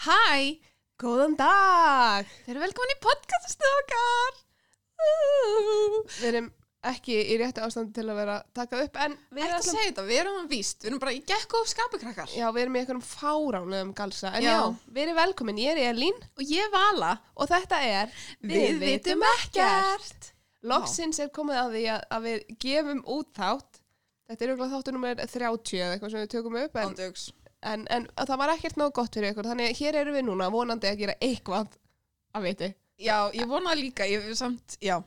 Hæ, góðan dag Þeir eru velkomin í podcaststuð okkar Ú. Við erum ekki í réttu ástandi til að vera takað upp en við, Ekki að ætlum, segja þetta, við erum víst Við erum bara í gekku og skapikrakkar já, við erum í einhverjum fáránlegum galsa en Já. já, við erum velkomin, ég er Elín Og ég vala og þetta er Loksins er komið að því að, að við gefum út þátt Þetta er auðvitað þáttu nummer 30 eða eitthvað sem við tökum upp en, Ándugs en, en það var ekkert nóg gott fyrir ykkur þannig að hér erum við núna vonandi að gera eitthvað að viti Já, ég vona líka, ég er samt, já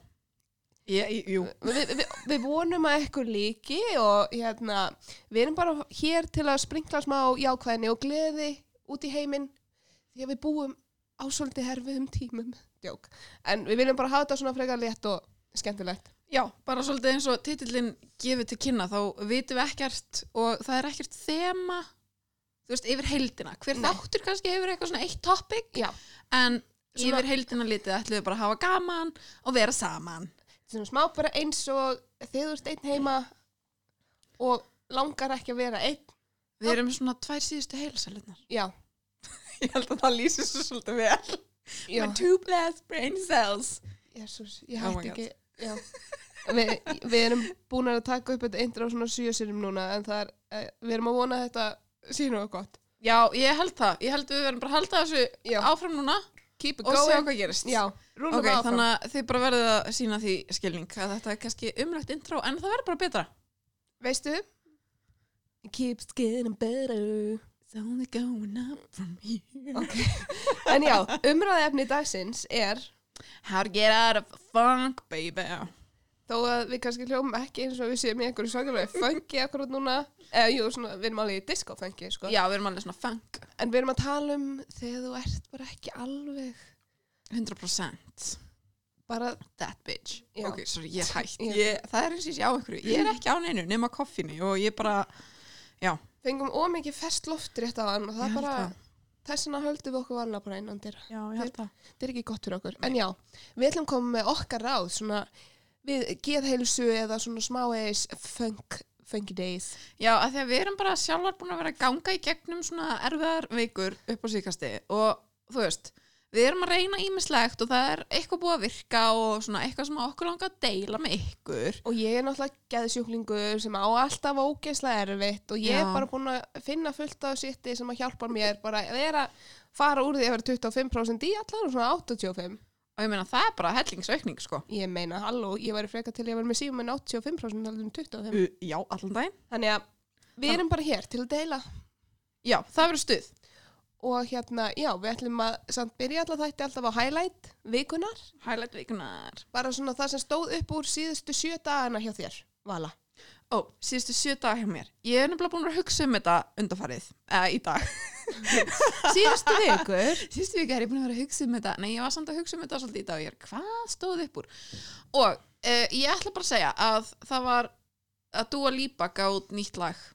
ég, ég, Jú við, við, við vonum að ekkur líki og hérna, við erum bara hér til að sprinkla smá jákvæðinni og gleði út í heiminn því að við búum á svolítið herfiðum tímum Djók. en við viljum bara hafa þetta svona frekar létt og skemmtilegt Já, bara svolítið eins og titillin gefið til kynna þá vitum við ekkert og það er ekkert þema þú veist, yfir heildina hver Nei. þáttur kannski hefur eitthvað svona eitt topic Já. en Svona- yfir heildina litið ætlum við bara að hafa gaman og vera saman svona smá bara eins og þegar þú ert einn heima og langar ekki að vera einn Við erum svona tvær síðustu heilsalinnar já, Ég held að það lýsir svo svolítið vel já, two blessed brain cells Jesus, ég Oh my hætti God. ekki já. Við, við erum búin að taka upp þetta eindra á svona sjösirum núna en það er, eh, við erum að vona að þetta sé nú gott Já, ég held það, ég held við verðum bara að halda þessu Já. áfram núna keep it og sjá going hvað gerist já, rúlum Ok, áfram þannig að þið bara verðið að sína því skilning að þetta er kannski umrætt intro en það verður bara betra veistu keeps getting better It's only going up from here en já, umræðefni dagsins er How to get out of funk, baby þó að við kannski hljóum ekki eins og við séum í einhverju svakalveg fengi akkurat núna eða jú, svona, við erum alveg í disco-fengi sko. Já, við erum alveg svona funk en við erum að tala um þegar þú ert bara ekki alveg 100% bara, That bitch Já. Ok, sorry, ég er hætt Já. ég, Það er eins og ég sé á einhverju Ég er ekki á neinu nema koffinu og ég bara fengum ómikið fest loft rétt á hann og það Ég held bara það. þess vegna höldum við okkur varna bara innan dyr Já, ég held það þetta er ekki gott fyrir okkur. En já, við ætlum að koma með okkar ráð, svona við geðheilsu eða svona smáeis funk, funky days. Já, af því að við erum bara sjálfar búin að vera að ganga í gegnum svona erfiðar vikur upp á síkasti og þú veist, við erum að reyna ímislegt og það er eitthvað búið að virka og svona eitthvað sem okkur langar að deila með ykkur Og ég er náttúrulega geðsjúklingur sem á alltaf ógeðslega erfitt og ég Já. er bara búin að finna fullt af sitti sem að hjálpa mér bara að vera fara úr því að vera 25% í allar og svona 85. og ég meina það er bara hellingsaukning sko. Ég meina, halló, ég væri freka til að ég var með síðum en 85% heldur en 25. U- Uh, Já, allan daginn Þannig að við erum bara hér til að deila Já, það verður stuð og hérna, já, við ætlum að samt byrja alltaf þætti alltaf á highlight vikunar Highlight vikunar bara svona það sem stóð upp úr síðustu sjö dagana hjá þér, Vala. Ó, síðustu sjö daga hjá mér Ég er nefnilega búin að vera að hugsa um þetta undarfarið eða í dag Síðustu vikur? Síðustu vika er ég búin að vera að hugsa um þetta Nei, ég var samt að hugsa um þetta svolítið í dag og ég er, Hvað stóð upp úr? Og uh, ég ætla bara að segja að það var að Dua Lipa gáð nýtt lag í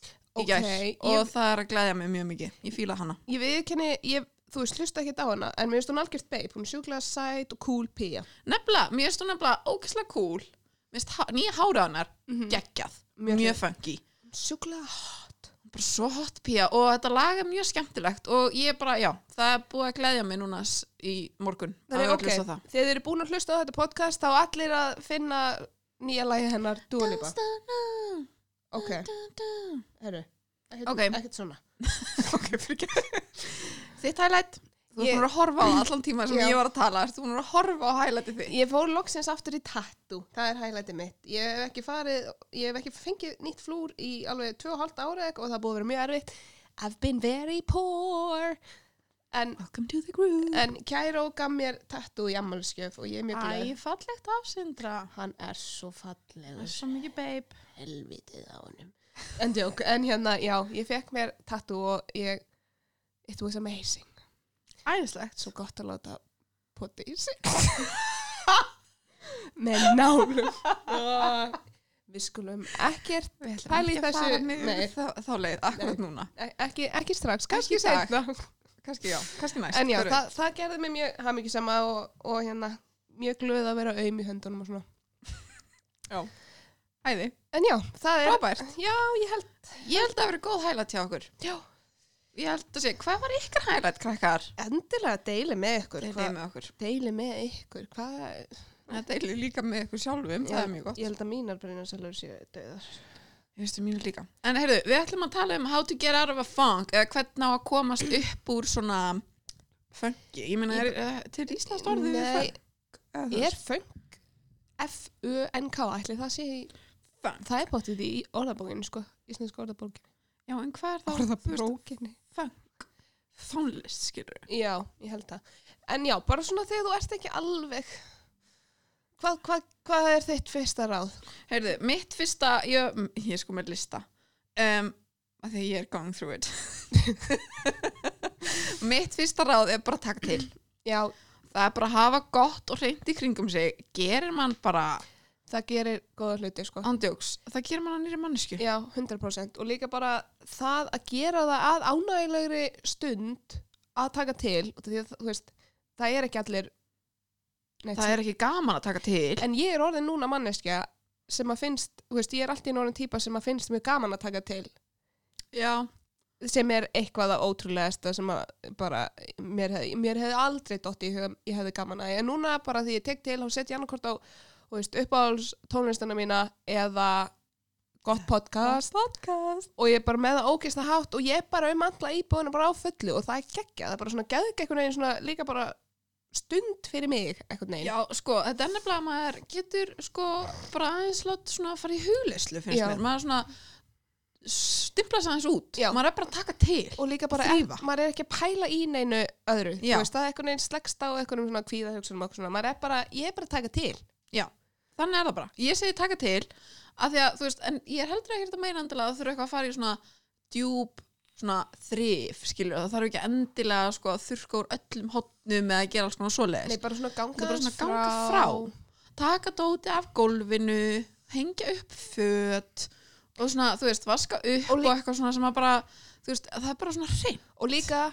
Ok, gær og ég, það er að glæðja mig mjög mikið Ég fíla hana ég viðkenni, ég, þú veist, hlusta ekkert á hana, en mér finnst hún algjört beip, hún er sjúklega sæt og cool pía. Nefnilega, mér finnst hún nefnilega ókesslega cool Mér finnst há- nýja hára hannar Mm geggjað, Mjög mjög funky Sjúklega hot. bara svo hot pía og þetta lag er mjög skemmtilegt og ég bara, já, það er búið að glæðja mig núna s- í morgun Þannig, að ok, hlusta á það. þegar þið eru búin að hlusta á þetta podcast, þá allir að finna nýja lagi hennar, Dua Lipa. Ok, herru, ekkert, Ok. ekkert svona. ok, fyrir ekki þitt highlight þú Ég- ert búin að horfa á það allan tíma sem Já. ég var að tala þú búin að horfa á highlightið þitt Ég fór loksins aftur í tattoo, það er hæglætið mitt. Ég hef ekki farið, ég hef ekki fengið nýtt flúr í alveg 2,5 ára og það er búið að vera mjög erfitt. I've been very poor. En, welcome to the groove en Kæró gaf mér tattoo í ammalskjöf og ég er mjög glæð. Æ, fallegt afsindra Hann er svo fallegur, svo mikið babe helvitið á honum. En djók, en hérna, já, ég fekk mér tattoo og ég, it was amazing. æðislegt Svo gott að láta pota í sig. Með nálum. Við skulum ekkert Pæli í þessu- Nei. þá, þá leið, akkurat núna E- ekki, ekki strax, kannski Ekki í dag. seinna kannski já, kannski næst en já, Hver veit? það, það gerði mig mjög hamingjusama og, og hérna, mjög glöð að vera auðm í höndunum og svona æði, en já, það er, frábært já, ég held Ég held að það hafi verið góð hæla til okkur. já, ég held að sé, hvað var ykkar highlight krakkar? Endilega deili með ykkur. Deilið hvað- með okkur. Deili með ykkur. Hvað? Það deilir líka með ykkur sjálfum, það er mjög gott. Ég held að mínar brennarsalur séu döðar. Ég veistu mínu líka. En heyrðu, við ætlum að tala um how to get out of a funk eða hvernig á að komast upp úr svona funki. Ég meina, er uh, til íslenskt orðið við Nei, funk? Eða þú er veist, funk F-U-N-K, ætli það sé í... Funk. Það er bóttið í orðabókinu, sko. Íslensku orðabókinu. Já, en hvað er það? Þú veist, Orðabókinu. Tónlist, skilur. Já, ég held það. En já, bara svona þegar þú ert ekki alveg... Hvað, hvað, hvað er þitt fyrsta ráð? Heyrðu, mitt fyrsta, ég, mm, ég er sko með lista. Um, að því að ég er going through it. mitt fyrsta ráð er bara að taka til. Já, Það er bara að hafa gott og reynd í kringum sig. Gerir mann bara það gerir góða hluti, sko. andjóks. Það gerir mann að nýri mannesku. Já, 100% og líka bara það að gera það að ánægilegri stund að taka til og því að þú veist, það er ekki allir neitt Það er ekki gaman að taka til. sem- en ég er orðin núna manneskja sem að finnst, þú veist, ég er alltaf í orðin típa sem að finnst mjög gaman að taka til Já, sem er eitthvað að ótrúlegasta sem að bara, mér hefði, mér hefði aldrei dotti í hugum, ég hefði gaman að en núna bara því ég tek til, þá setja ég annarkort á þú veist, uppáhalds tónlistana mína eða gott podcast podcast og ég er bara með það ógeist að hátt og ég er bara um alla íbúðina bara á fullu og það er geggja, það er bara svona geðg einhvern veginn svona líka bara stund fyrir mig einhvern veginn. Já, sko, þetta er nefnilega að maður getur sko bara aðeins látt svona að fara í hugleyslu finnst Já. mér, maður svona stimpla sig aðeins út, Já. maður er bara að taka til Og líka bara, Þrífa. maður er ekki að pæla í neinu öðru, Já. þú veist, það er einhvern veginn slegst á einhvern veginn svona kvíðahugsunum og eitthvað svona, maður er bara, ég er bara að taka til. þannig er það bara, ég segi taka til af því að, þú veist, en ég er heldur ekkert að meina endilega að það þurfa eitthvað að fara í svona djúb, svona þrif skilur, það þarf ekki endilega sko að þurrka úr öllum hotnum eða gera alls konar svoleiðis Nei, bara svona Það ganga, er bara svona aðeins ganga frá. taka dóti af gólfinu hengja upp föt og svona, þú veist, vaska upp Og og, lí- eitthvað svona sem að bara þú veist, það er bara svona hrein Og líka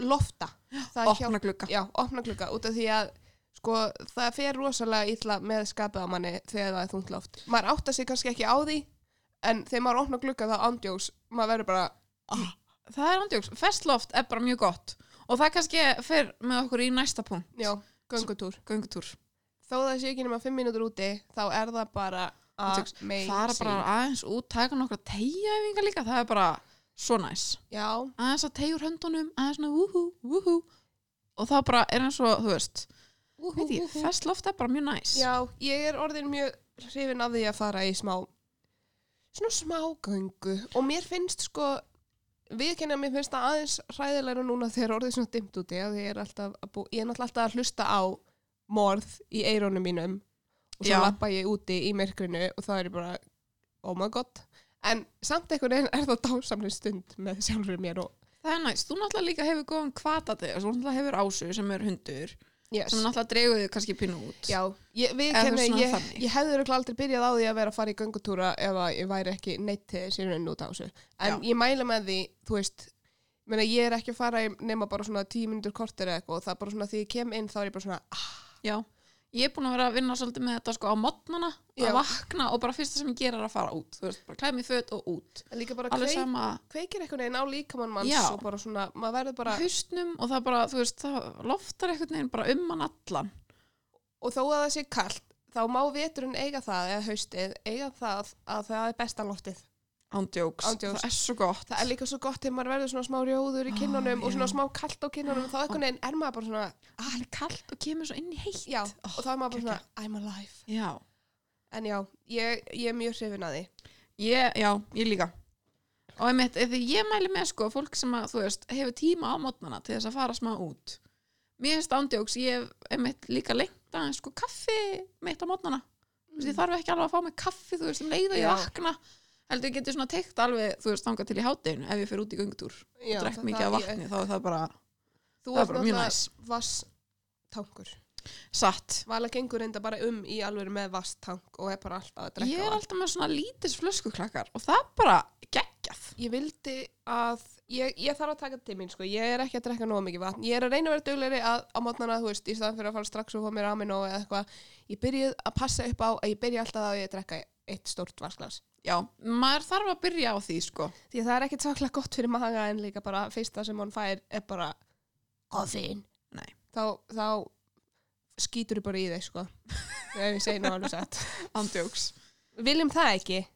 lofta. Það hjálpar. opna glugga Já, opna glugga út af því að sko, það fer rosalega illa með skapið á manni þegar það er þungt loft. Maður átta sig kannski ekki á því en þegar maður opna glugga þá andjós maður verður bara, það er andjóks, festloft er bara mjög gott og það kannski fer með okkur í næsta punkt já, göngutúr. göngutúr, Þó það sé ekki nema fimm mínútur úti þá er það bara að Andjóks, fara bara aðeins út taka nokkra tegjæfingar líka, það er bara svo næs, Já, aðeins að tegjur höndunum aðeins svona úhú, úhú og það bara er eins og, þú veist veit ég, festloft er bara mjög næs já, ég er orðin mjög hrifin af því að fara í smá svona smá göngu og mér finnst sko viðkenni að mér finnst það aðeins hræðilega núna þegar orðið er svona dimmt úti af því ég er alltaf að, bú, ég er náttúrulega alltaf að hlusta á morð í eirónum mínum og svo Já. lappa ég úti í myrkrinu og það er ég bara oh my god en samt einhvern veginn er það dásamlega stund með sjálfur mér og Það er næst, þú náttúrulega líka hefur góðan kvata þig þú náttúrulega hefur ásu sem er hundur yes. sem náttúrulega dreigur þig kannski pínu út Já, ég, Eða þú viðurkenni, veist, svona ég, þannig. ég hefði örugglega aldrei byrjað á því að vera að fara í göngutúra ef að ég væri ekki neitt til þess í raun út á þessu. En ég mæla með því, þú veist, ég meina, ég er ekki að fara í nema bara svona tíu minnundur kortir eða eitthvað og það er bara svona því ég kem inn þá er ég bara svona, ah, Já. Ég er búin að vera að vinna svolítið með þetta sko á modnana, Já. að vakna og bara fyrsta sem ég gera er að fara út, þú veist, bara klæmi föt og út en líka bara alveg kveik, sama kveikir eitthvað neginn á líkamann manns Já. og bara svona, maður verður bara, í haustnum og það bara, þú veist, það loftar einhvern veginn bara um hann allan og þó að það sé kallt, þá má veturinn eiga það, eða haustið, eiga það að það er besta loftið. ándjóks, Ándjóks. það er svo gott Það er líka svo gott þegar maður verður svona smá rjóður í Ah, kinnunum og já. svona smá kallt á kinnunum, þá eitthvað neginn er maður bara svona, Það er kallt og kemur svo inn í heitt Já, Oh, og þá er maður bara svona, I'm alive. Já, En já, ég, ég er mjög hrifin að því. ég, já, ég líka og einmitt, ef því ég mæli með sko fólk sem að, þú veist, hefur tíma á mótnana til þess að fara smá út mér finnst ándjóks, ég hef einmitt líka lengt aðeins sko kaffi mitt á mótnana þú veist, ég þarf ekki alveg að fá mig kaffi, þú veist, um leið og ég Já. vakna heldur ég getur svona teikt alveg, þú veist, þangað til í hátdeinu ef ég fer út í göngtúr og Já, drekk það- mikið af það- ég- vatni, þá er það bara Þú það er er bara mjög náttúrulega næs, vasstankur. satt Vala gengur reynda bara um í alveg með vasttank og er bara alltaf að drekka ég er vatn. alltaf með svona lítis flöskuklakkar og það er bara geggjað Ég vildi að, ég, ég þarf að taka til mín, sko, ég er ekki að drekka nóg mikið vatn. Ég er að reyna að vera duglegri að á mótnana, þú veist, í staðan fyrir að fara strax og fá mér amino eða eitthvað. Ég byrjuð að passa upp á að ég byrja alltaf á að ég drekka eitt stórt vasklas. Já, maður þarf að byrja á því, sko. Því að það er ekkit saklega gott fyrir maga en líka bara fyrsta sem hún fær er bara koffein. Nei. Þá, þá skýtur þú bara í þeir, sko. Ef ég segi nú alveg satt. Andjóks. Viljum það ekki.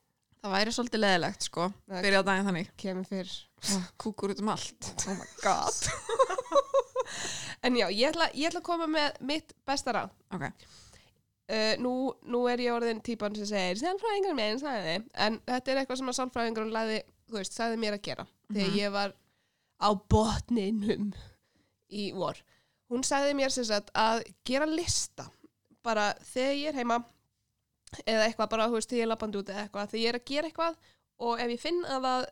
Það væri svolítið leðilegt, sko. Nei. Byrja á daginn þannig. Kemur fyrr. Kúkur út um allt. Oh my god. En já, ég ætla, ég ætla að koma með mitt besta ráð. Ok. Uh, nú, nú er ég orðin típan sem segir sálfræðingar minn sagði en þetta er eitthvað sem að sálfræðingar laði, þú veist, sagði mér að gera þegar Mhm. ég var á botninum í vor hún sagði mér sem sagt að gera lista bara þegar ég er heima eða eitthvað bara, þú veist, þegar ég er labbandi út eða eitthvað þegar ég er að gera eitthvað og ef ég finn að það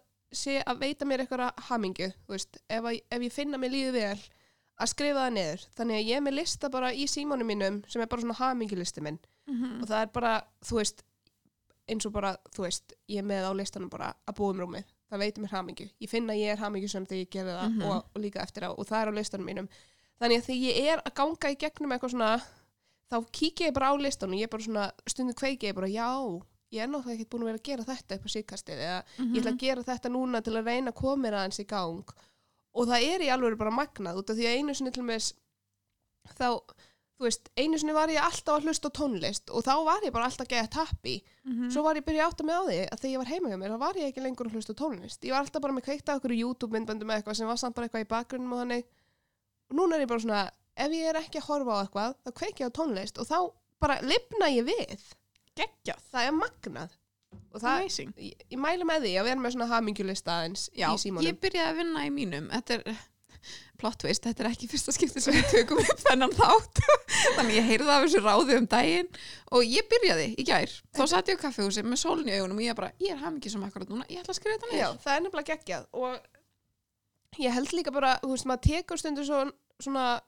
sé að veita mér eitthvað hamingu, þú veist, ef, að, ef ég finn að mér líður vel að skrifa það niður þannig að ég er með lista bara í símanum mínum sem er bara svona hamingulisti minn Mhm. og það er bara, þú veist eins og bara, þú veist, ég er með á listanum bara að búa um rúmið, það veitir mér hamingju ég finn að ég er hamingju sem þegar ég gerði það Mhm. og, og líka eftir á, og það er á listanum mínum þannig að þegar ég er að ganga í gegnum eitthvað svona, þá kíkja ég bara á listanum og ég er bara svona, stundum kveiki ég bara, já, ég er náttúrulega ekki búin að vera að gera þetta upp á síkastið, eða ég Mhm. ætla að gera þetta núna til að reyna að koma mér aðeins í gang og það er í alveg bara magnað út af því að einu sinni til með þá, þú veist, einu sinni var ég alltaf að hlusta á tónlist og þá var ég bara alltaf að geða tappi Mhm. svo var ég byrja að átta mig á því að þegar ég var heima hjá mér þá var ég ekki lengur að hlusta á tónlist ég var alltaf bara með kveikt að okkur YouTube myndböndum eða eitthvað sem var samt bara eitthvað í bakgrunnum og þannig og núna er ég bara svona, ef ég er ekki að horfa á eitthvað þá kveiki ég á tónlist og þá bara lifna ég við, Geggjað. það er magnað og það, Amazing. ég, ég mælu með því að vera með svona hamingjulista eins Já, í símanum. ég byrjaði að vinna í mínum. Þetta er plot twist, þetta er ekki fyrsta skipti sem við tökum upp þennan þátt. Þannig ég heyrði af þessu ráði um daginn og ég byrjaði í gær. Þá satt ég á kaffehúsi með sólun í augunum og ég bara, ég er hamingi sem akkurat núna, ég ætla að skrifa þetta Já, niður. það er nefnilega geggjað og ég held líka bara, þú veist, maður tekur stundur svona, svona,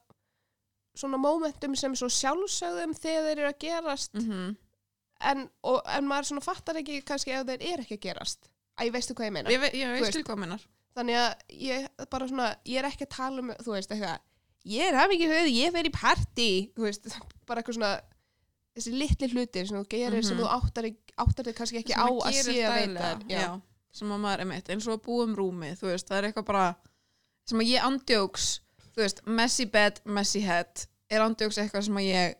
svona momentum sem svo sjálfsögðum þegar þeir eru að gerast Mm en, og, en maður svona fattar ekki kannski ef þeir eru ekki að gerast. Æ, veistu hvað ég meina? Ég, ve ég Þú veist veist. til hvað minnar. Þannig að ég bara svona, ég er ekki að tala um, þú veist, eitthvað, ég er hafa ekki höfð, ég fer í partí, þú veist, bara eitthvað svona, þessi litli hlutir sem þú gerir sem Mhm. þú áttar, áttar þig kannski ekki á að sé að veita. já. sem að maður er meitt eins og að búa um rúmi þú veist, það er eitthvað bara sem að ég andjóks, þú veist messy bed, messy head er andjóks eitthvað sem að ég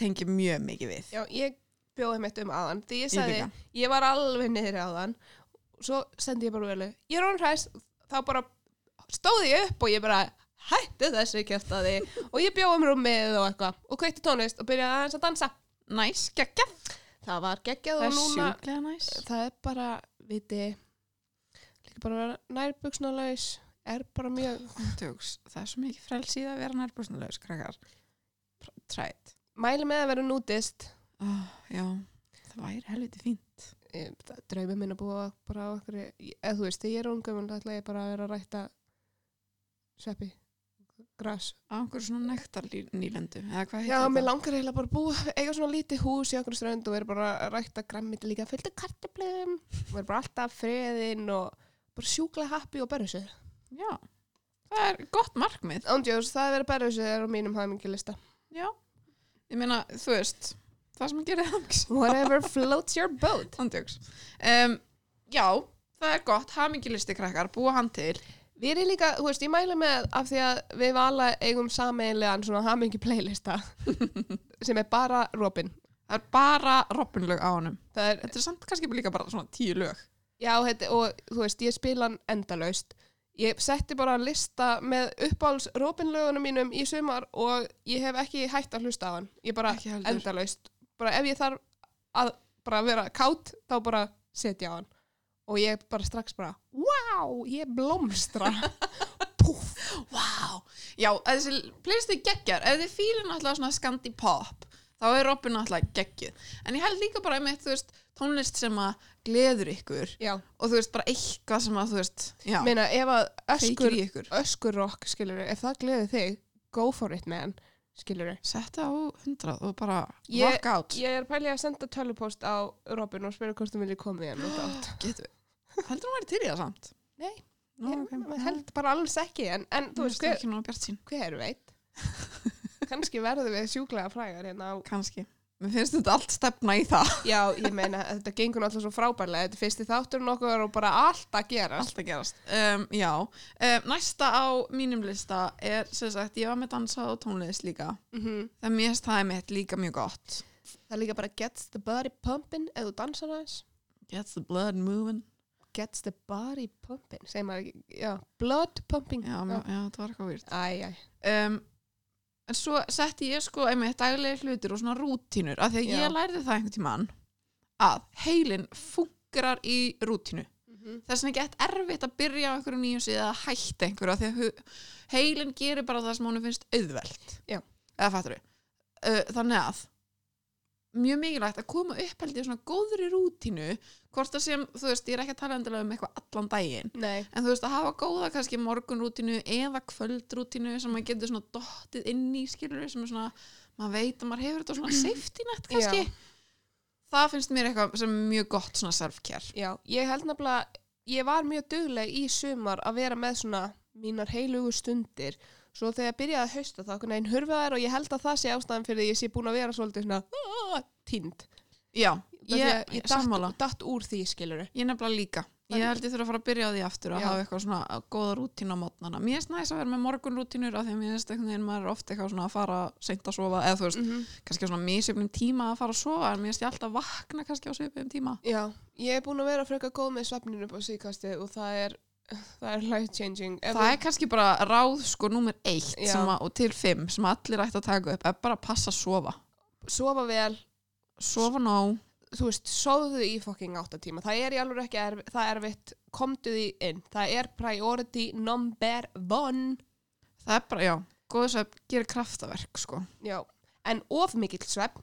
tengi mjög mikið við Já, ég bjóði mitt um aðan því ég Ég sagði, líka. ég, var alveg niður aðan svo sendi ég bara velu ég er orðin hræs, þá bara stóði ég upp og ég bara hætti þessu kjöftaði og ég bjóði um rúmið og eitthvað og kveikti tónlist og byrjaði aðeins að dansa næs, geggjað, það var geggjað og það er núna sjúklega næs það er bara, viti líka bara að vera nærbuksnalaus er bara mjög andjóks, það er svo mikið frelsið að vera nærbúsnulegs, krakkar Pr- træt, mæli með að vera nútist oh, já það væri helviti fínt draumi minn að búa bara á okkur eða þú veist, þegar ég er ungum þá ætla ég bara að vera að rækta sveppi, gras á einhverju svona nektar nýlendu eða hvað Já, heitir mér það? langar eiginlega bara að búa eiga svona lítið hús í okkur strönd og vera bara að rækta græmmit líka fullt af kartiblum og vera bara alltaf friðin og bara sjúklega happy og berðsöð Já, það er gott markmið Ándjós, það að vera berðsöð er á mínum hafmingilista Já, ég meina, þú veist, það sem gerir hangis. Whatever floats your boat Andjóks. Um, já, það er gott, hamingilisti krakkar, búa hann til. Við erum líka, þú veist, ég mæli með af því að við vala eigum sameinlegan svona hamingi playlista sem er bara Robin Það er bara roppinlög á honum. Það er Þetta er samt kannski líka bara svona tíu lög. Já, þetta, og þú veist, ég spila hann endalaust. Ég setti bara að lista með uppáhalds Robin-lögunum mínum í sumar og ég hef ekki hægt að hlusta á hann. Ég bara Ekki heldur. endalaust. Bara ef ég þarf að bara vera kátt, þá bara setja á hann. Og ég bara strax bara, wow, ég blómstra. Púff. Vá! Já, þessi playlisti geggjar, ef þið fílin alltaf svona skandi pop, þá er roppin alltaf geggjuð. En ég held líka bara með, þú veist, tónlist sem að gleður ykkur Já, og þú veist, bara eitthvað sem að, þú veist, já, meina, ef að öskur, feikir í ykkur. öskurrock, skilur ef það gleði þig, go for it, man, skilur Setta á hundrað og bara Ég- rock out. Ég er pælið að senda tölvupóst á Robin og spyrja hvort þú viljið koma í hann og þátt. Getur við? Heldur hún væri til í það samt? Nei, Nú, ég ok. held bara alls ekki, en, en Þú þú veist veist, það hver, ekki náttúrulega bjart sín. hver veit? Kanski verðum við sjúklega frægar hérna á... Kanski. Mér finnst þetta allt stefna í það. Já, ég meina, þetta gengur alltaf svo frábærlega. Þetta er fyrsti þátturinn okkar og bara allt að gerast. Allt að gerast. Um, já. Um, næsta á mínum lista er, sem sagt, ég var með dansa og tónlist líka. Mm Það mér finnst það er mitt líka mjög gott. Það er líka bara gets the body pumping ef þú dansar aðeins. Gets the blood moving. Gets the body pumping, segir maður ekki, já, blood pumping. Já, já. já það var eitthvað výrt. Æ, æ. um, en svo setti ég sko einmitt daglegi hlutir og svona rútínur af því að Já. ég lærði það einhvern tímann að heilin fungerar í rútínu Mhm. þess vegna er gett erfitt að byrja á einhverju nýjum síðan að hætta einhverju af því að hu- heilin gerir bara það sem honum finnst auðvelt Já. eða fattur við þannig að mjög mikilvægt að koma upp held ég svona góðri rútínu hvort það sem, þú veist, ég er ekki að tala endilega um eitthvað allan daginn Nei, En þú veist að hafa góða kannski morgunrútinu eða kvöldrútinu sem maður getur svona dottið inn í skilur sem er svona, maður veit að maður hefur þetta svona safety net kannski. Já. Það finnst mér eitthvað sem er mjög gott svona self-care. já, ég held nefnilega, ég var mjög dugleg í sumar að vera með svona mínar heilugu stundir. Svo þegar ég byrjaði að hausta þá einhvern veginn hurfa þær og ég held að það sé ástæðan fyrir því ég sé búin að vera svolítið svona "Ah", týnd. Já, Ég, ég, ég sammála. datt, datt úr því, skiluru. Ég nefnilega líka. Það Ég er- held ég þurfa að fara að byrja á því aftur að Já. hafa eitthvað svona góða rútínu á mótnana. Mér finnst næst að vera með morgunrútinur af því að mér finnst einhvern veginn maður er oft eitthvað svona að fara seint að sofa eða þú veist, Mm kannski á svona misjöfnum tíma að fara að sofa en mér finnst ég alltaf vakna kannski á svipum tíma. Já, ég er búin að vera frekar góð með svefninu upp á síkastið og það er, það er life changing. Ef það þú- er kannski bara ráð sko númer eitt Já. sem að, og til fimm sem allir ætti að taka upp er bara að passa að sofa sofa vel, sofa nóg, þú veist, sofðu í fokking áttatíma. Það er í alveg ekki erf, það erfitt, komdu því inn. Það er priority number one. það er bara, já góðis að gera kraftaverk sko Já, en of mikill svefn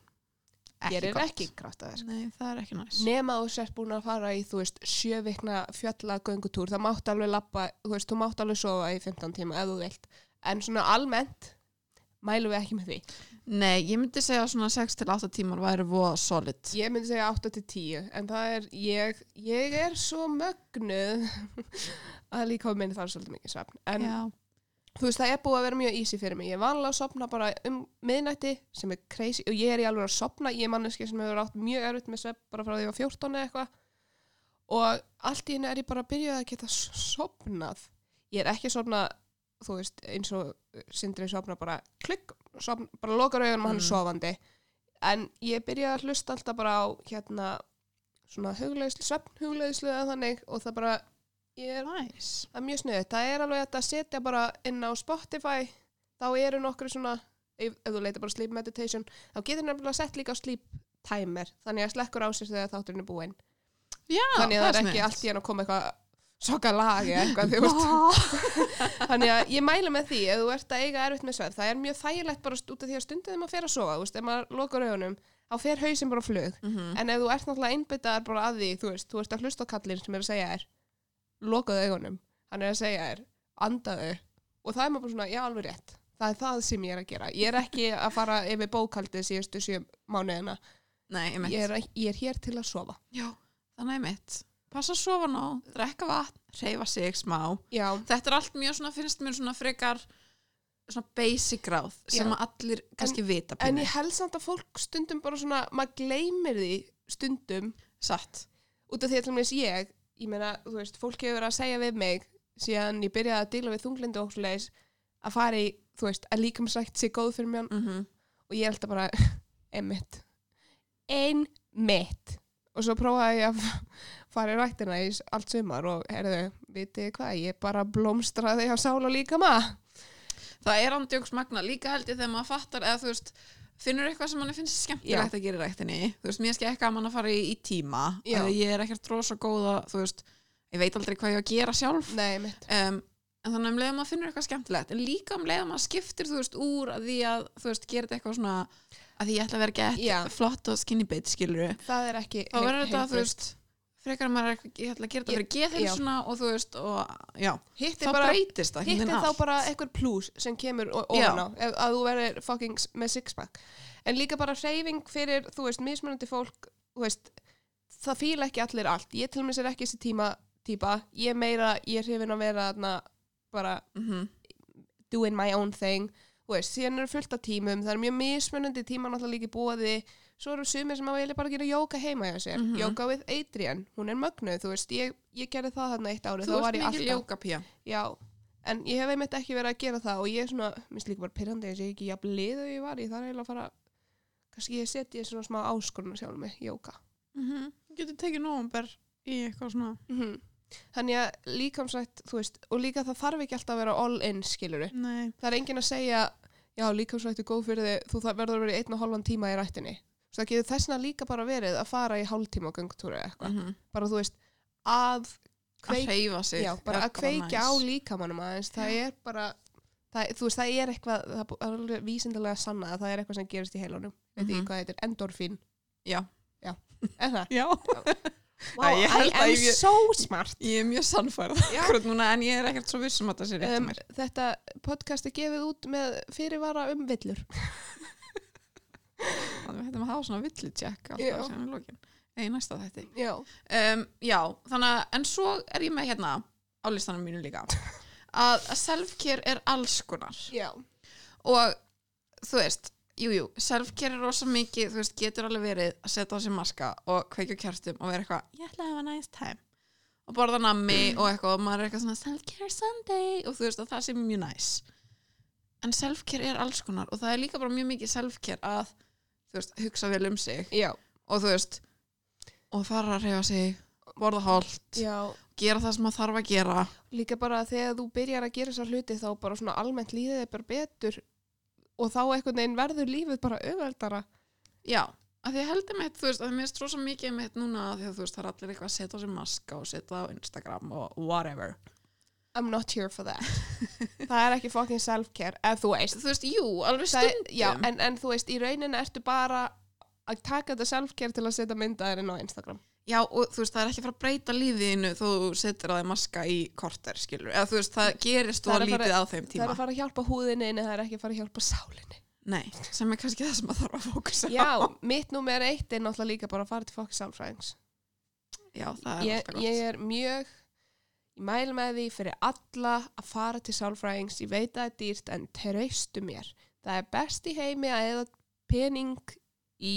gerir gott. ekki kraftaverk. nei, það er ekki næs Nema þú sért búin að fara í, þú veist, sjövikna fjallagöngutúr. Það mátt alveg lappa, þú veist, þú mátt alveg sofa í 15 tíma ef þú vilt. En svona almennt mælum við ekki með því. nei, ég myndi segja að svona 6-8 tímar væri voða solid Ég myndi segja 8 til 10, en það er, ég, ég er svo mögnuð að líka á minni þarf svolítið mikið svefn. En já, þú veist, það er búið að vera mjög easy fyrir mig. Ég er vanlega að sopna bara um miðnætti sem er crazy og ég er í alveg að sopna. Ég er manneski sem hefur átt mjög erfitt með svefn bara frá því að ég var 14 eða eitthvað. Og allt í henni er ég bara að byrja að geta s- sopnað. Ég er ekki að sopna, þú veist, eins og sindri sopna bara klikk, sopna, bara lokar augunum og hann er Mm. sofandi. En ég byrja að hlusta alltaf bara á hérna svona hugleðislu, svefnhugleðislu eða þannig og það bara, ég er næs það er mjög snuðið. Það er alveg hægt að setja bara inn á Spotify, þá eru nokkru svona, ef, ef þú leitar bara sleep meditation, þá getur nefnilega sett líka á sleep timer, þannig að slekkur á sér þegar þátturinn er búinn. já, þannig að það er ekki allt í hann að koma eitthvað soka lagi eitthvað, þú veist. allt Þannig að ég mæla með því, ef þú ert að eiga erfitt með svefn, það er mjög þægilegt bara út af því að stundum þegar maður fer að sofa, þú veist, ef maður lokar augunum, þá fer hausinn bara á flug. Mhm. Mm. En ef þú ert náttúrulega einbyttaðar bara að því, þú veist, þú ert að hlusta á kallinn sem er að segja þér, lokaðu augunum, hann er að segja þér, andaðu. Og það er maður bara svona, já, alveg rétt. Það er það sem ég er að gera. Ég er ekki að fara yfir bókaldið síðustu sjö mánuðina. nei, ég Ég mitt er, ég er hér til að sofa. já, þannig ég mitt passa að sofa nóg, drekka vatn, reyfa sig smá Já, þetta er allt mjög svona, finnst mér svona frekar svona basic ráð sem Já. að allir kannski vita en pínu. ég held samt að fólk stundum bara svona, maður gleymir því stundum satt út af því að til dæmis ég, ég meina, þú veist, fólk hefur verið að segja við mig síðan ég byrjaði að díla við þunglindi og svoleiðis að fara í, þú veist, að líkamsrækt sé góð fyrir mjón mm og ég held að bara, einmitt, einmitt. Og svo prófaði ég að fara í rættina í s- allt sumar og herðu, vitið þið hvað, ég bara blómstraði á sál og líka maður. það er andjóks magna líka held ég þegar maður fattar eða þú veist finnur eitthvað sem manni finnst skemmtilegt að gera í ræktinni þú veist, mér skil ekki að mann að fara í, í tíma Já. að ég er ekkert rosa góða þú veist, ég veit aldrei hvað ég á að gera sjálf Nei, einmitt. um, en þannig um leiðum maður finnur eitthvað skemmtilegt en líka um leiðum maður skiptir þú veist úr að því að þú veist, gera þetta eitthvað svona að því ég ætla að vera Já. gett flott og skinny bitch skilur Það er ekki þá verður þetta, þú heilbrigt. veist frekar að maður er ekki- ég ætla að gera þetta fyrir geðhilsuna og þú veist, og já Hitt þá er bara, breytist það hitt einhvern er veginn þá allt. bara eitthvað plús sem kemur o- ofan á, ef- að þú verður fucking s- með sixpack. En líka bara hreyfing fyrir, þú veist, mismunandi fólk, þú veist, það fíla ekki allir allt. Ég til og með sér ekki þessi tíma, típa, ég er meira, ég er hrifin að vera þarna bara Mhm. doing my own thing Þú þú veist, síðan eru fullt af tímum, það er mjög mismunandi tíma náttúrulega líka í bóði, svo eru sumir sem að vilja bara gera jóka heima hjá sér, mm Mhm. jóka við Adrian, hún er mögnuð, þú veist, ég, ég gerði það þarna eitt árið, Þú þá var ert ég mikil alltaf, jókapía. já, en ég hef einmitt ekki verið að gera það og ég er svona, minnst líka bara pyrrandi þess að ég er ekki jafn lið og ég var, ég þarf eiginlega að fara, kannski ég setji svona smá áskorun sjálf með jóka. Mm Getur tekið nóvumber í eitthvað svona. Mm Þannig að líkamsrætt, þú veist, og líka það þarf ekki alltaf að vera all in, skiluru. Nei. það er enginn að segja já, líkamsrætt er góð fyrir þig þú þarf- verður að vera í einn og hálfan tíma í rættinni svo það getur þessna líka bara verið að fara í hálftíma á göngutúru eða eitthvað Mm -hmm. bara þú veist, að Að kveik, hreyfa sig. já, bara er að kveikja á næs. líkamannum aðeins það er bara það, þú veist, það er eitthvað, það er bú- það er alveg vísindalega sanna að það er eitthvað sem gerist í heilunum veit ekki Mhm. hvað þetta er, endorfín Já. já, er það? Já. Wow, Æ, ég held I að am ég- so smart Ég er mjög sannfærð Já. akkurat núna en ég er ekkert svo vissum að það sé rétt um, um, þetta podcast er gefið út með fyrirvara um villur Þannig við hættum að hafa svona villutjekk Já. alltaf sem er lókin. Nei, í næsta þætti. já, Um, já, þannig að, en svo er ég með hérna á listanum mínu líka að self-care er alls konar. já, og þú veist, jú, jú, self-care er rosa mikið, þú veist, getur alveg verið að setja á sig maska og kveikja á kjartum og vera eitthvað, ég ætla að hafa nice time og borða nammi og eitthvað og maður er eitthvað svona self-care Sunday og þú veist að það sé mjög næs en self-care er alls konar og það er líka bara mjög mikið self-care að þú veist, hugsa vel um sig já, og þú veist, og fara að reyfa sig borða holt, já. gera það sem maður þarf að gera líka bara þegar þú byrjar að gera þessar hluti þá bara svona almennt líðið er bara betur og þá einhvern veginn verður lífið bara auðveldara Já, að því ég heldur mitt, þú veist, að mér stróð svo mikið mitt núna að því að þú veist, það er allir eitthvað að setja á sig maska og setja á Instagram og whatever. I'm not here for that það er ekki fucking self-care ef þú veist Þú veist, jú, alveg Það er- stundum. já, en, en þú veist, í rauninu ertu bara að taka þetta self-care til að setja myndaðurinn á Instagram Já, og þú veist, það er ekki að fara að breyta lífiðinu þó þú setur á þig maska í korter, skilur. Eða þú veist, það gerist Það þú er að að fara- lítið á þeim það er tíma. að fara að hjálpa húðinni en það er ekki að fara að hjálpa sálinni Nei, sem er kannski það sem maður þarf að fókusa á. já, mitt númer eitt er náttúrulega líka bara að fara til fokk sálfræðings Já, það er ég, alltaf gott. ég er mjög ég mæl með því fyrir alla að fara til sálfræðings, ég veit að það er dýrt en treystu mér, það er best í heimi að eða pening í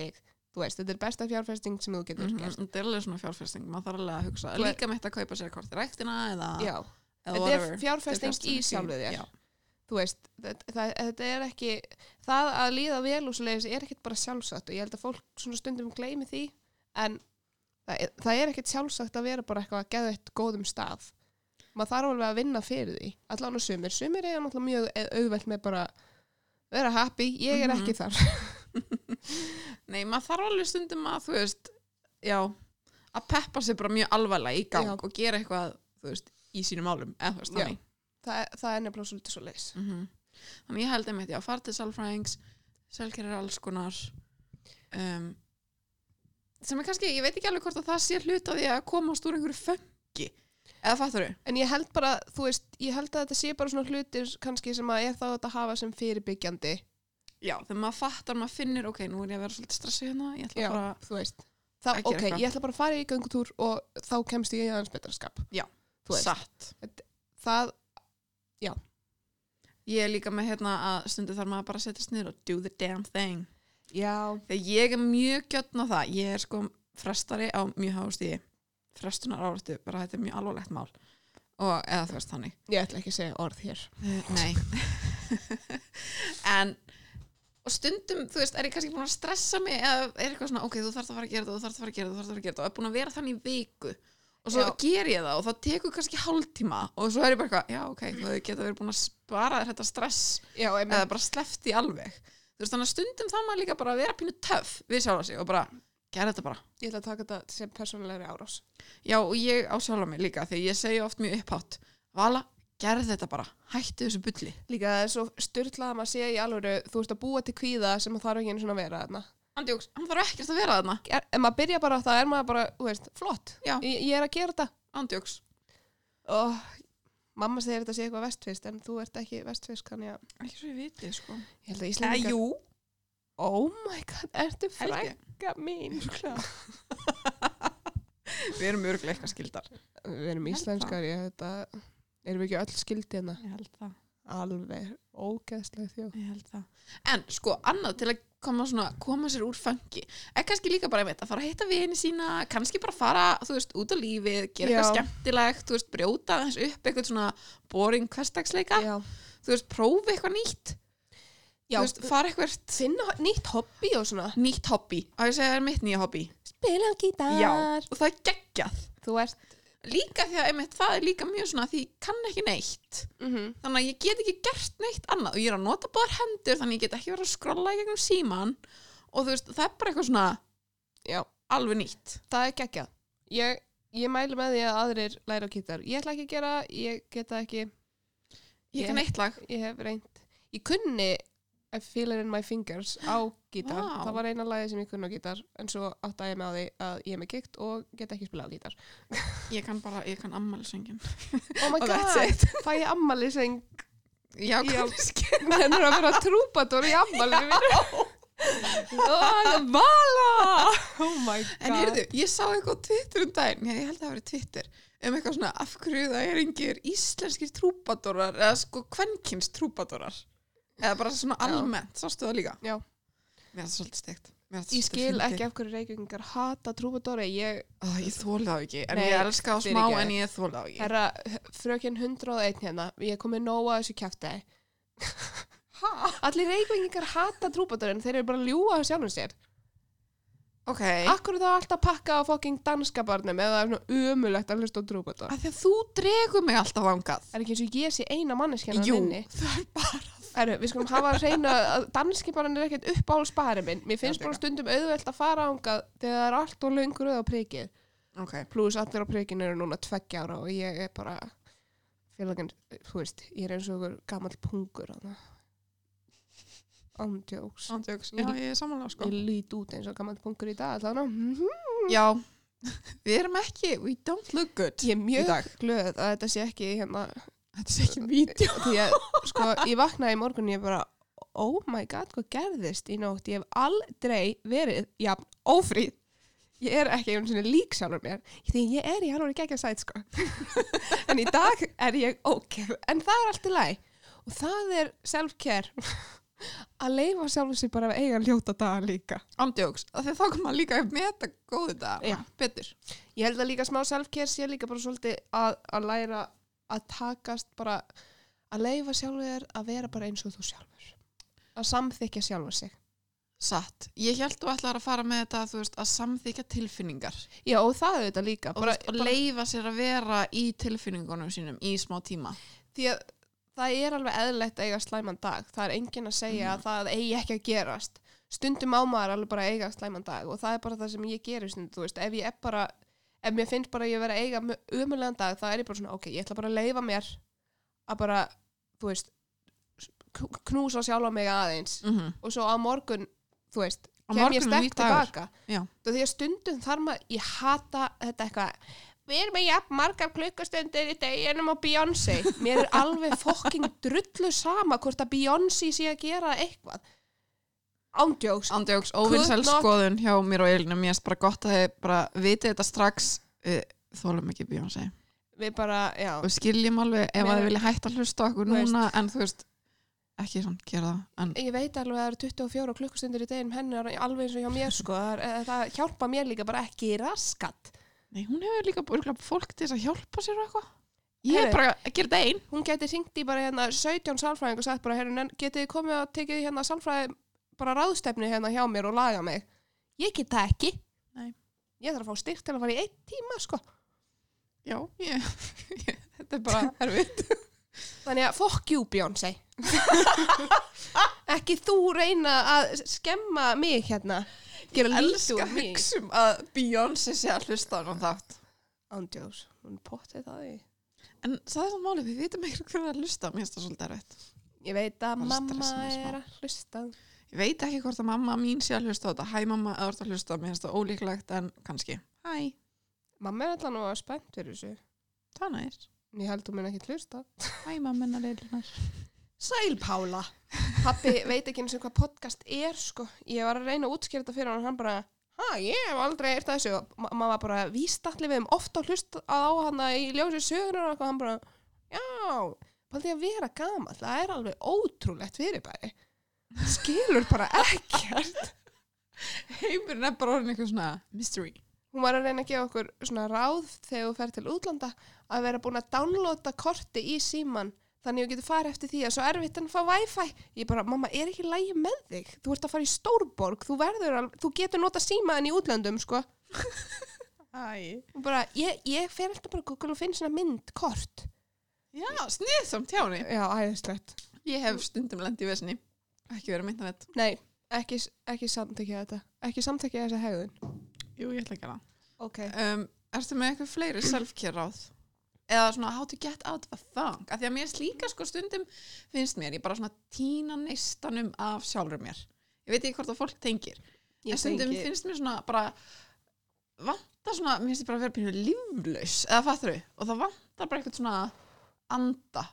þig, þú veist þetta er besta fjárfesting sem þú getur Mhm, gert Þetta er alveg svona fjárfesting, maður þarf alveg að hugsa Þú er- líka mitt að kaupa sér kort í ræktina eða, já, eða þetta er whatever. fjárfesting í sjálfið þér þú veist, þetta, það, þetta er ekki það að líða vel og svoleiðis er ekkit bara sjálfsagt og ég held að fólk svona stundum gleymi því en það er, það er ekkit sjálfsagt að vera bara eitthvað að geða eitt góðum stað maður þarf alveg að vinna fyrir því allan á sumir, sumir er náttúrulega mjög au- auðvelt með bara vera happy, ég er ekki þar Nei, maður þarf alveg stundum að, þú veist, já, að peppa sig bara mjög alvarlega í gang Já. og gera eitthvað, þú veist, í sínum álum, eða þú veist, Já. Mhm. þannig. það, það er nefnilega svolítið svoleiðis Mm Þannig ég held einmitt, já, fara til sálfræðings, selgerir alls konar, um, sem er kannski, ég veit ekki alveg hvort að það sé hlut að því að komast úr einhverju fengi, eða fattur þau? En ég held bara, þú veist, ég held að þetta sé bara svona hlutir kannski sem að er þá þetta hafa sem fyrirbyggjandi, Já, þegar maður fattar, maður finnir, ok, nú er ég að vera svolítið stressuð hérna, ég ætla Já. bara, þú veist. Þá, Að gera ok, eitthvað. ég ætla bara að fara í göngutúr og þá kemst ég í aðeins betra skap. Já, Þú veist, satt. það, Ég er líka með hérna að stundu þarf maður bara að setjast niður og do the damn thing. já, Þegar ég er mjög gjötn á það, ég er sko frestari á mjög háustíði, frestunar áratu, bara þetta er mjög alvarlegt mál og eða þú veist þannig. ég ætla ekki að segja orð hér. Eh, Nei. en og stundum, þú veist, er ég kannski búin að stressa mig eða er eitthvað svona, ok, þú þarfst að fara að gera þetta, þú þarfst að fara að gera þetta, þú þarfst að fara að gera þetta og er búin að vera þannig í viku og svo Já. ger ég það og það tekur kannski hálftíma og svo er ég bara eitthvað, já, ok, þú hefur getað verið búin að spara þér þetta stress Já, eða bara sleppt í alveg þú veist þannig að stundum það maður líka bara að vera pínu töff við sjálfa sig og bara gera þetta bara ég ætla að taka þetta sem persónulegri árás. já og ég á sjálfa mig líka þegar ég segi oft mjög upphátt Vala, gera þetta bara, hættu þessu bulli Líka það er svo styrlað að maður segja í alvöru, þú veist að búa til kvíða sem það þarf ekki einu svona að vera þarna. andjóks, hann þarf ekkert að vera þarna Er, ef maður byrja bara, það er maður bara, þú veist, flott. Já. Ég, ég er að gera þetta. andjóks, Oh, mamma segir þetta sé eitthvað vestfist, en þú ert ekki vestfist, þannig að ekki svo ég viti sko ég held að eða Íslandingar... jú, Oh my god, ertu held ég, frænka mín? sko. við erum örglega eitthvað skildar Við erum Held það. íslenskar, ég þetta... Erum við ekki öll skildina? ég held það hérna? Alveg ógeðslega þjóð. Ég held það. En sko, annað til að koma, svona, koma sér úr fangi er kannski líka bara einmitt að fara að hitta vini sína kannski bara fara, þú veist, út á lífið gera eitthvað Já. skemmtilegt, þú veist, brjóta þess upp eitthvað svona boring hverstagsleika Já, þú veist, prófi eitthvað nýtt já þú veist, fara eitthvað finna ho- nýtt hobby og svona. nýtt hobby og ég segja það er mitt nýja hobby Spila á gítar. Já, og það er geggjað Þú ert, líka því að einmitt, það er líka mjög svona því ég kann ekki neitt mm þannig að ég get ekki gert neitt annað og ég er að nota báðar hendur þannig að ég get ekki verið að skrolla í gegnum síman og þú veist, það er bara eitthvað svona já, alveg nýtt það er geggjað. Ég, ég mælu með því að aðrir læra á gítar. Ég ætla ekki að gera, ég geta ekki, ég kann eitt lag ég hef reynd. Ég kunni I feel it in my fingers á gítar. Vá. Það var eina lagið sem ég kunni á gítar, en svo áttaði ég með á því að ég er með gikt og geta ekki spilað á gítar. ég kann bara, ég kann ammælisöngin Oh my Og god, that's it. fæ ég ammali sem já, kannski hennur að vera trúbator í ammali mínu. Vala! Oh my god. en heyrðu, ég sá eitthvað á Twitter um daginn já, ég held að það hafi verið Twitter um eitthvað svona af hverju það er engir íslenskir trúbadorar eða sko kvenkins trúbadorar eða bara svona Já. almennt, sástu það líka Já. mér er það svolítið steikt Ég skil ekki af hverju reykjöfingar hata trúbadóri. Ég, Ó, ég þóla það ekki, en Nei, ég elska á smá fyrirgefðu. en ég þóla það ekki herra, frökinn 101 hérna, ég kom með nóa þessu kjæfti. Ha? Allir reykjöfingar hata trúbadóri en þeir eru bara að ljúa á sjálfum sér. Ok. Akkur er það alltaf að pakka á fokking danska barnum eða það er svona umulegt að hlusta á trúbadóri. Af því að þú dregur mig alltaf angað. Er ekki eins og ég sé eina manneskjana Jú, inni? það er bara... Herru, við skulum hafa að reyna að danski bara er ekkert uppáhalds barinn minn. Mér finnst Já, bara stundum auðvelt að fara ángað þegar það er allt og löngur auð á prikið. Ok. Plus allir á prikinu eru núna tveggja ára og ég er bara félagin, þú veist, ég er eins og ykkur gamall pungur á það. Andjóks. Andjóks. Já, ég er samanlega sko. Mhm. Ég lít út eins og gamall pungur í dag allan og Já. Við erum ekki... We don't look good. ég er Í dag. mjög glöð að þetta sé ekki hérna Þetta er ekki vídeo. því að sko ég vaknaði í morgun og ég bara oh my god hvað gerðist í nótt ég hef aldrei verið jafn ófríð ég er ekki einu sinni lík sjálfur mér því ég er í alveg ekki að sæt sko en í dag er ég ok en það er allt í læg og það er self-care að leifa sjálfur sér bara að eiga ljóta daga líka Andjóks. Þegar þá kom maður líka að meta góðu dag. Já. Betur. ég held að líka smá self-care sé líka bara svolítið að, að læra að takast bara að leifa sjálfur þér að vera bara eins og þú sjálfur að samþykja sjálfur sig Satt. Ég held þú ætlar að fara með þetta, þú veist, að samþykja tilfinningar. já og það er þetta líka Og, bara, bara, og leifa sér að vera í tilfinningunum sínum í smá tíma. því að það er alveg eðlilegt að eiga slæman dag það er enginn að segja að það eigi ekki að gerast stundum á maður alveg bara að eiga slæman dag og það er bara það sem ég gerir stundum þú veist, ef ég er bara ef mér finnst bara að ég vera að eiga umulegan dag þá er ég bara svona, ok, ég ætla bara að leifa mér að bara, þú veist kn- knúsa sjálfa mig aðeins Mm og svo á morgun, þú veist, Á kem ég morgun er nýr sterk dagur. tilbaka. Já. Þú því að stundum þar maður, ég hata þetta eitthvað, við erum með jafn margar klukkustundir í deginum á Beyoncé. Mér er alveg fokking drullu sama hvort að Beyoncé sé að gera eitthvað. Ándjóks. Andjóks, Good luck. óvinnsælskoðun hjá mér og Elinu, mér er bara gott að þið bara viti þetta strax, uh, þólum ekki Beyonce. Við bara, já. og skilgjum alveg ef Mér- að þið vilja hætta að hlusta á okkur Þú veist. núna en þú veist, ekki samt gera það en Ég veit alveg að það eru 24 klukkustundir í deginum hennar alveg eins og hjá mér sko. Það, er- það hjálpa mér líka bara ekki raskat. nei, hún hefur líka búið fólk til þess að hjálpa sér og eitthvað ég Heyrðu. er bara að gera þetta einn hún geti ringt í bara hérna 17 sálfræðing og sagt bara, herru, nen- getið þið komið að tekið hérna sálfræði bara ráðstefni hérna hjá mér og laga mig. Ég get það ekki. Nei. Ég þarf að fá styrk til að fara í einn tíma, sko. já, ég, ég, þetta er bara erfitt Þannig að fuck you, Beyoncé. ekki þú reyna að skemma mig hérna. Gera lítið elska úr mig. hugsum að Beyoncé sé að hlusta á hann þátt Andjós, hún pottið það í. en það er það máli, við vitum eitthvað hvernig að hlusta mér er það svolítið erfitt Ég veit að Bara mamma stressa mig smá. er að hlusta. ég veit ekki hvort að mamma mín sé að hlusta á þetta hæ mamma, eða þú ert að hlusta, mér er það ólíklegt en kannski, hæ, Mamma er alltaf nú að spennt fyrir þessu. það nær En ég held hún mun ekki hlusta. hæ mamma, hennar hérna. leilunar Sæl Pála Pappi veit ekki eins og hvað podcast er sko. Ég var að reyna að útskýra þetta fyrir hann og hann bara, ha, ég hef aldrei eirt þessu og ma- maður var bara, víst allir við um ofta hlust á hana í ljósi sögunar og eitthvað, hann bara, já Paldi að vera gamall, það er alveg ótrúlegt fyrirbæri. Skilur bara ekkert. Heimurinn er bara orðin eitthvað svona mystery. Hún var að reyna að gefa okkur svona ráð þegar þú fer til útlanda að vera búin að downloada korti í síman þannig að þú getur farið eftir því að svo erfitt en að fá wifi. Ég bara, mamma, er ekki lægi með þig? Þú ert að fara í stórborg, þú, verður, al- þú getur nota símaðin í útlandum, sko. Æ. Hún bara, ég, ég fer alltaf bara að Google og finn svona mynd, kort. Já, sniðsamt hjá henni. Já, æðislegt. Ég hef stundum lent í vesinni. Ekki verið meint að þetta. Nei, ekki, ekki samtækja þetta. Ekki samtækja þessa hegðun. Jú, ég ætla ekki að það. Ok. Um, ertu með eitthvað fleiri self-care ráð? Eða svona how to get out of a thang? Af því að mér er slíka sko stundum finnst mér. Ég bara svona tína neistanum af sjálfur mér. Ég veit ekki hvort að fólk tengir. Ég en stundum tengi- finnst mér svona bara vantar svona, mér finnst ég bara að vera pínu líflaus eða fattur við, og það vantar bara eitthvað svona anda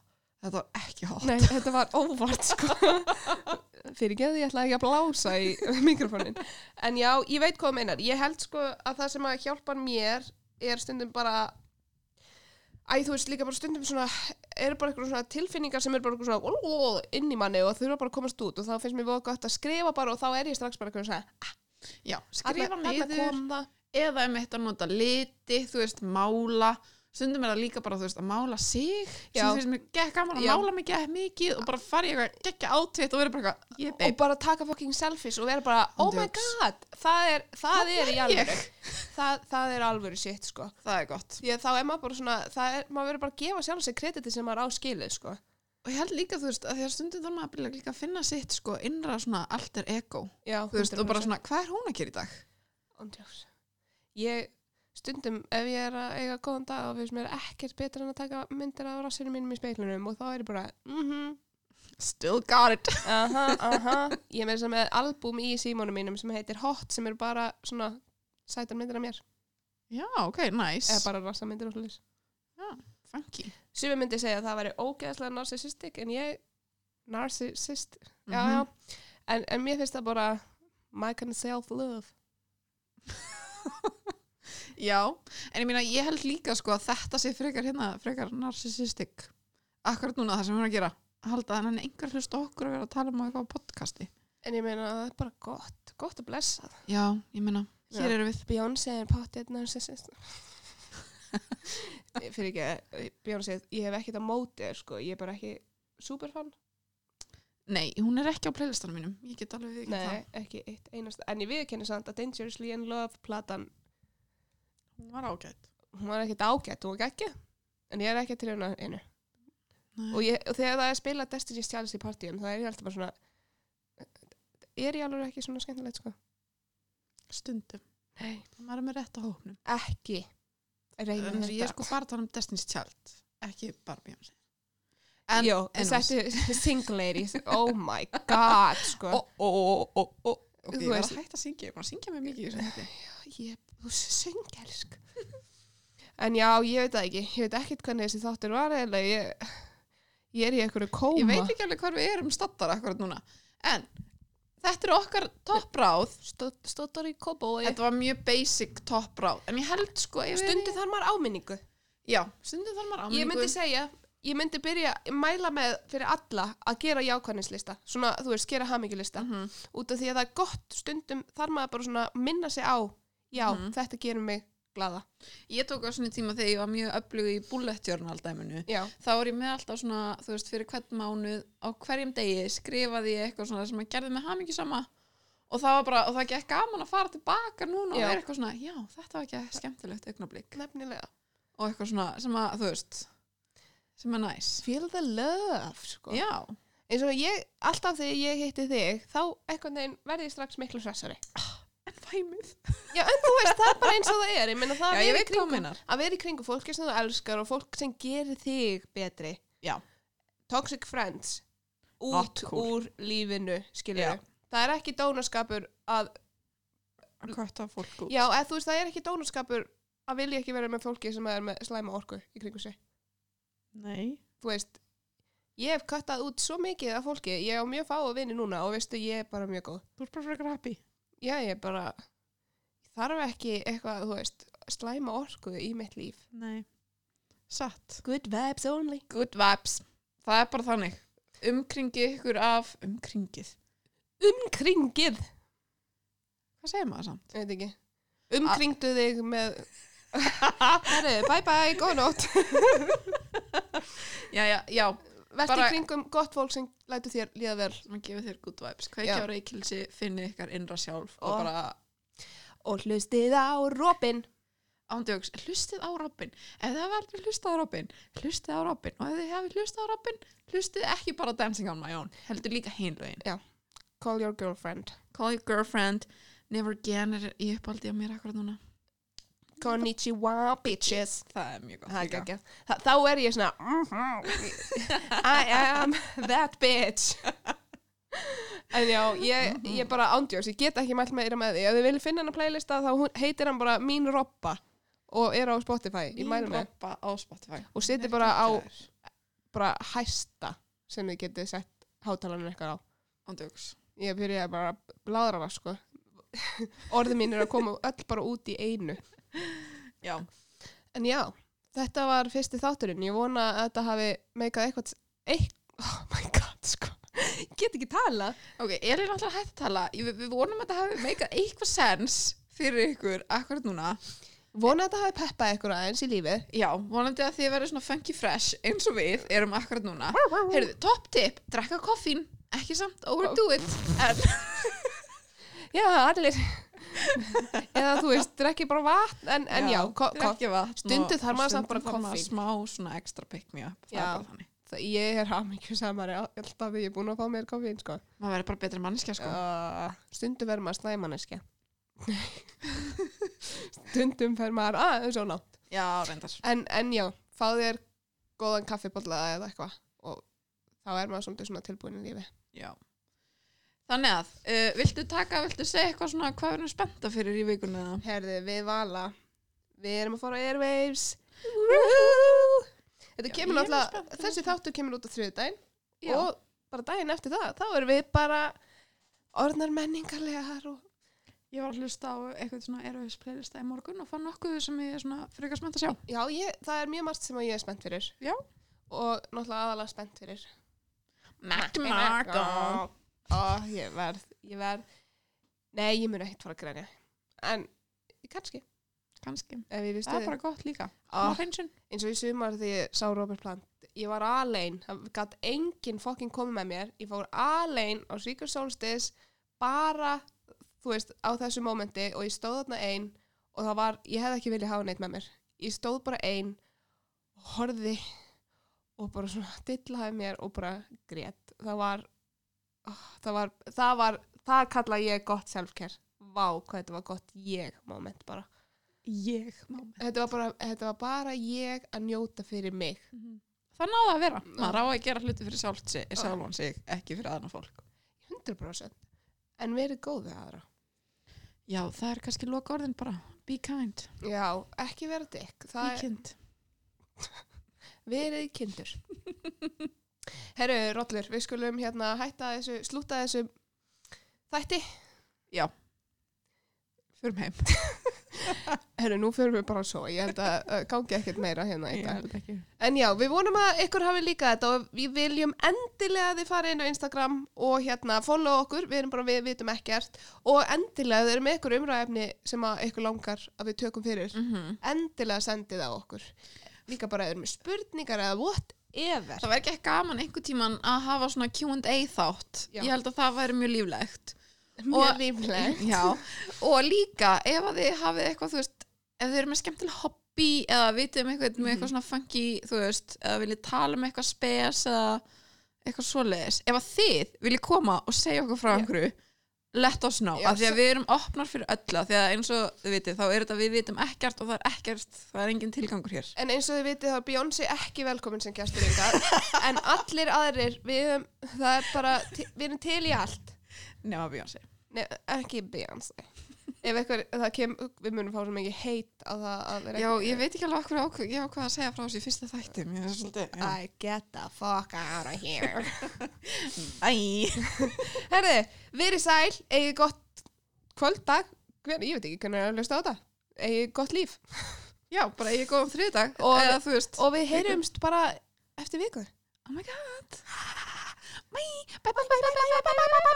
þetta var ekki hot Nei, þetta var óvart sko. Fyrir geði, ég ætla ekki að blása í mikrofonin. En já, ég veit hvað þú meinar. Ég held sko að það sem að hjálpar mér er stundum bara Æ, þú veist, líka bara stundum svona, eru bara eitthvað svona tilfinningar sem eru bara eitthvað svona ó, ó, inn í manni og þurfa bara að komast út og þá finnst mér voða gott að skrifa bara og þá er ég strax bara eitthvað svona, já, skrifa þarna þarna niður kom það. eða um eitt að nota liti, þú veist, mála stundum er það líka bara, þú veist, að mála sig Já. sem finnst mér gekk gaman að Já. mála mig gekk mikið og bara fara í eitthvað gekkja átvitt og vera bara eitthvað, ég og bara taka fucking selfies og vera bara oh my Dukes. god, það er, það er í babe, alvöru ég það, það er alvöru sitt sko það er gott því að þá er maður bara svona, það er, maður verður bara að gefa sjálf sér krediti sem maður á skilið sko og ég held líka, þú veist, að því að stundum þarf maður að líka að finna sitt, sko, innra svona alter ego, já, þú veist, og bara svona, hvað er hún að gera í dag? svona ég stundum ef ég er að eiga góðan dag og finnst mér ekkert betra en að taka myndir af rassinu mínum í speiklunum og þá er ég bara mhm, Still got it. aha, aha ég er með þess að með album í símónum mínum sem heitir Hot sem eru bara svona sætar myndir af mér Já, ok, nice. eða bara rassamyndir og hlutis Funky. Sumi myndi segja að það væri ógeðslega narcissistic en ég narcissist, já, Mhm. já en, en mér finnst það bara my kind of self-love Já, en ég meina, ég held líka sko að þetta sé frekar hérna, frekar narcissistic. Akkurat núna það sem hún er að gera. Halda að hann einhver hlust okkur að vera að tala um eitthvað á podcasti. en ég meina það er bara gott, gott að blessa það Já, ég meina, hér Já. eru við. Beyoncé er pottið narcissist Ég- fyrir ekki, Beyoncé ég hef ekkert á móti þér, sko, ég er bara ekki superfan, Nei, hún er ekki á playlistanum mínum. Ég get alveg við nei, ekki eitt einast, en ég viðkenni samt að Dangerously in Love platan, Hún var ágætt. hún var ekkert ágætt og ekki, en ég er ekki til hérna einu Nei. og, ég, og þegar það er spilað Destiny's Challenge í partíum það er ég alltaf bara svona er ég alveg ekki svona skemmtilegt sko Stundum. Nei. Maður er með rétt á hóknum. ekki reyna En ég er þetta sko bara að tala um Destiny's Child, ekki bara Beyoncé. En- Jó, en- settu single ladies oh my god sko Ó, ó, ó, ó, ó. Ok, Þú ég var veist- að hætta að syngja, ég var að syngja mig mikið í þessu hætti. ég, þú sko. söngelsk en já, ég veit það ekki ég veit ekkert hvernig þessi þáttur var eða ég, ég er í einhverju kóma ég veit ekki alveg hvar við erum stattar akkurat núna en þetta eru okkar toppráð Stótt- stóttar í kóbói þetta var mjög basic toppráð en ég held sko ef við- stundu þar maður áminningu já, stundu þarf maður Ég áminningu myndi segja, ég myndi byrja mæla með fyrir alla að gera jákvæðnislista, svona, þú veist, gera hamingjulista Mhm. út af því að það er gott stundum þar maður bara svona minna sig á já, Mhm. þetta gerir mig glada ég tók á svona tíma þegar ég var mjög öflug í bullet journal dæminu Já, þá var ég með alltaf svona, þú veist, fyrir hvern mánuð á hverjum degi skrifaði ég eitthvað svona sem að gerði mig hamingi sama og það var bara, og það gekk gaman að fara tilbaka núna Já. og vera eitthvað svona, já, þetta var ekki skemmtilegt augnablík nefnilega og eitthvað svona sem að, þú veist sem er næs Feel the love, sko já, eins og ég, alltaf þegar ég hitti þig þá einhvern veginn verði ég strax miklu stressari en væmið Já, en þú veist, það er bara eins og það er ég meina það að Já, ég vera í veit hvað þú kringum- meinar. að vera í kringu fólki sem þú elskar og fólk sem gerir þig betri Já. Toxic friends Not út cool. úr lífinu, skilur Já. við það er ekki dónaskapur að að kvötta fólk út já, eða, þú veist, það er ekki dónaskapur að vilja ekki vera með fólki sem er með slæma orku í kringu sig, Nei. þú veist ég hef kattað út svo mikið af fólki ég á mjög fá að vinni núna og veistu, ég er bara mjög góð Þú ert bara frekar happy. já, ég er bara þarf ekki eitthvað, þú veist slæma orku í mitt líf Nei. Satt. Good vibes only Good vibes. það er bara þannig umkringið ykkur af umkringið, Umkringið. hvað segir maður samt? Ég veit ekki. Umkringdu þig með... Herru, bye bye, góða nótt. já, já, já, Vertu Bara- í kringum gott fólk sem lætur þér líða vel sem að gefa þér good vibes kveikja Já. á reykilsi, finni ykkar innra sjálf og Og- bara og hlustið á rópin. ándjóks, hlustið á Robin ef það verður hlustið á Robin, hlustið á Robin og ef þið hefur hlustið á Robin, hlustið ekki bara á Dancing on my own, heldur líka hinlögin Call your girlfriend. Call your girlfriend, never again er í uppaldi á mér akkurat núna Konnichiwa, bitches. það er mjög gott Það er líka geggjað. Þa- Þá er ég svona mhm, I am that bitch En já, ég, ég bara ándjós, ég get ekki mælt meira með því Ef þið viljið finna hann að playlista þá hún, heitir hann bara Mín Robba og er á Spotify, ég mælu með Robba á Spotify og setið bara á bara hæsta sem þið getið sett hátalarinn eitthvað á ándjóks Ég byrjaði bara að bladra það sko Orðið mín er að koma öll bara út í einu já, En já, þetta var fyrsti þátturinn. Ég vona að þetta hafi meikað eitthvað... Eitt, oh my god, sko. Ég get ekki tala. ok, er ég náttúrulega hægt að tala Ég- við, við vonum að þetta hafi meikað eitthvað sens fyrir ykkur akkurat núna Vona að þetta hafi peppað eitthvað aðeins í lífið. Já, vonandi að þið verður svona funky fresh eins og við erum akkurat núna. Heyrðu, topp tip, drekka koffín, ekki samt overdo it, en Já, allir. Eða þú veist, drekki bara vatn, en, en já, ko- ko- drekki vatn. Stundu og- þarf maður og samt bara stundum þarf maður koffín. Smá svona extra pick me up, það Já. er bara þannig. það- ég er hamingju samari alltaf því ég er búin að fá mér koffín, sko. Maður verður bara betri manneskja sko. Uh, stundum verður maður slæmaneskja. stundum fer maður aðeins og ná. Já, reyndar. En, en já, fá þér góðan kaffibólla eða eitthvað og þá er maður svolítið svona tilbúin í lífi. Já. Þannig að, uh, viltu taka, viltu segja eitthvað svona hvað við erum spennta fyrir í vikunni eða? Herði, við vala, við erum að fara á Airwaves. Woohoo! Þetta Já, ég kemur er spennt náttúrulega, fyrir þessi þáttur kemur út á þriðudaginn Já. og bara daginn eftir það, þá erum við bara orðnar menningarlegar og Ég var að hlusta á eitthvað svona erfis playlista í morgun og fann nokkuð sem ég er svona frekar spennt að sjá. já, ég, það er mjög margt sem að ég er spennt fyrir. Já. Og náttúrulega aðalega spennt fyrir Matt Margot. Ó, ég verð, ég verð. Nei, ég mun ekkert fara að grænja. En, kannski, Kanski. ef ég við Það er Ah. stuði. bara gott líka. Ó, Smá hreinsun. eins og í sumar þegar ég sá Robert Plant. Ég var alein, það gætt enginn fokkin komið með mér. Ég fór alein á Secret Solstice, bara, þú veist, á þessu mómenti og ég stóð þarna ein og það var, ég hefði ekki viljað hafa neitt með mér. Ég stóð bara ein, horfði og bara svona dillaði mér og bara grét. Það var, oh, það var, það var, það kalla ég gott self-care. Vá, hvað þetta var gott ég moment bara. ég moment Þetta var bara, þetta var bara ég að njóta fyrir mig. það náða að vera, Mhm. Ah. maður á að gera hluti fyrir sjálft sig, sjálfan sig, ekki fyrir aðna fólk 100% en verið góð við aðra já, það er kannski loka orðin bara be kind, já, ekki vera dykk be það er kind verið kindur herru, Rollur, við skulum hérna hætta þessu, slúta þessu þætti fyrir heim, herru, nú fyrir við bara svo, ég held að uh, gangi ekkert meira hérna í ég dag held ekki en já, við vonum að ykkur hafi líka þetta og við viljum endilega að þið farið inn á Instagram og hérna, follow okkur við erum bara, við vitum ekkert og endilega ef þið erum með ykkur umræðefni sem að ykkur langar að við tökum fyrir Mhm. endilega sendið á okkur líka bara eða með spurningar eða whatever það væri ekki gaman einhver tíman að hafa svona Q&A þátt Já. ég held að það væri mjög líflegt mjög rífleg já, og líka ef að þið hafið eitthvað, þú veist ef þið eru með skemmtileg hobby eða vitið um eitthvað með Mhm. eitthvað svona funky, þú veist eða viljið tala um eitthvað spes eða eitthvað svoleiðis, ef að þið viljið koma og segja okkur frá Já. einhverju let us know, Já, af því s- að við erum opnar fyrir öllu, af því að eins og þið vitið þá er þetta við vitum ekkert og það er ekkert það er engin tilgangur hér en eins og þið vitið þá er Beyoncé ekki velkomin sem gæstur ykkar en allir aðrir við, erum- það er bara, ti- við erum til í allt nema Beyonce Nei, ekki Beyoncé ef eitthvað, það kem, við munum fá svo mikið heit á það að vera Já, ég veit ekki alveg okkur ákveð, ég ákveð að segja frá þessu í fyrsta þættum, ég er svolítið já. I get the fuck out of here Æ, herði, verið sæl, eigið gott kvöld, dag, hver, ég veit ekki hvernig er að hlusta á þetta eigið gott líf já, bara ég er góðum þriðdag Og- eða þú veist, og við heyrumst bara eftir viku oh my god bye bye bye bye bye bye bye bye bye bye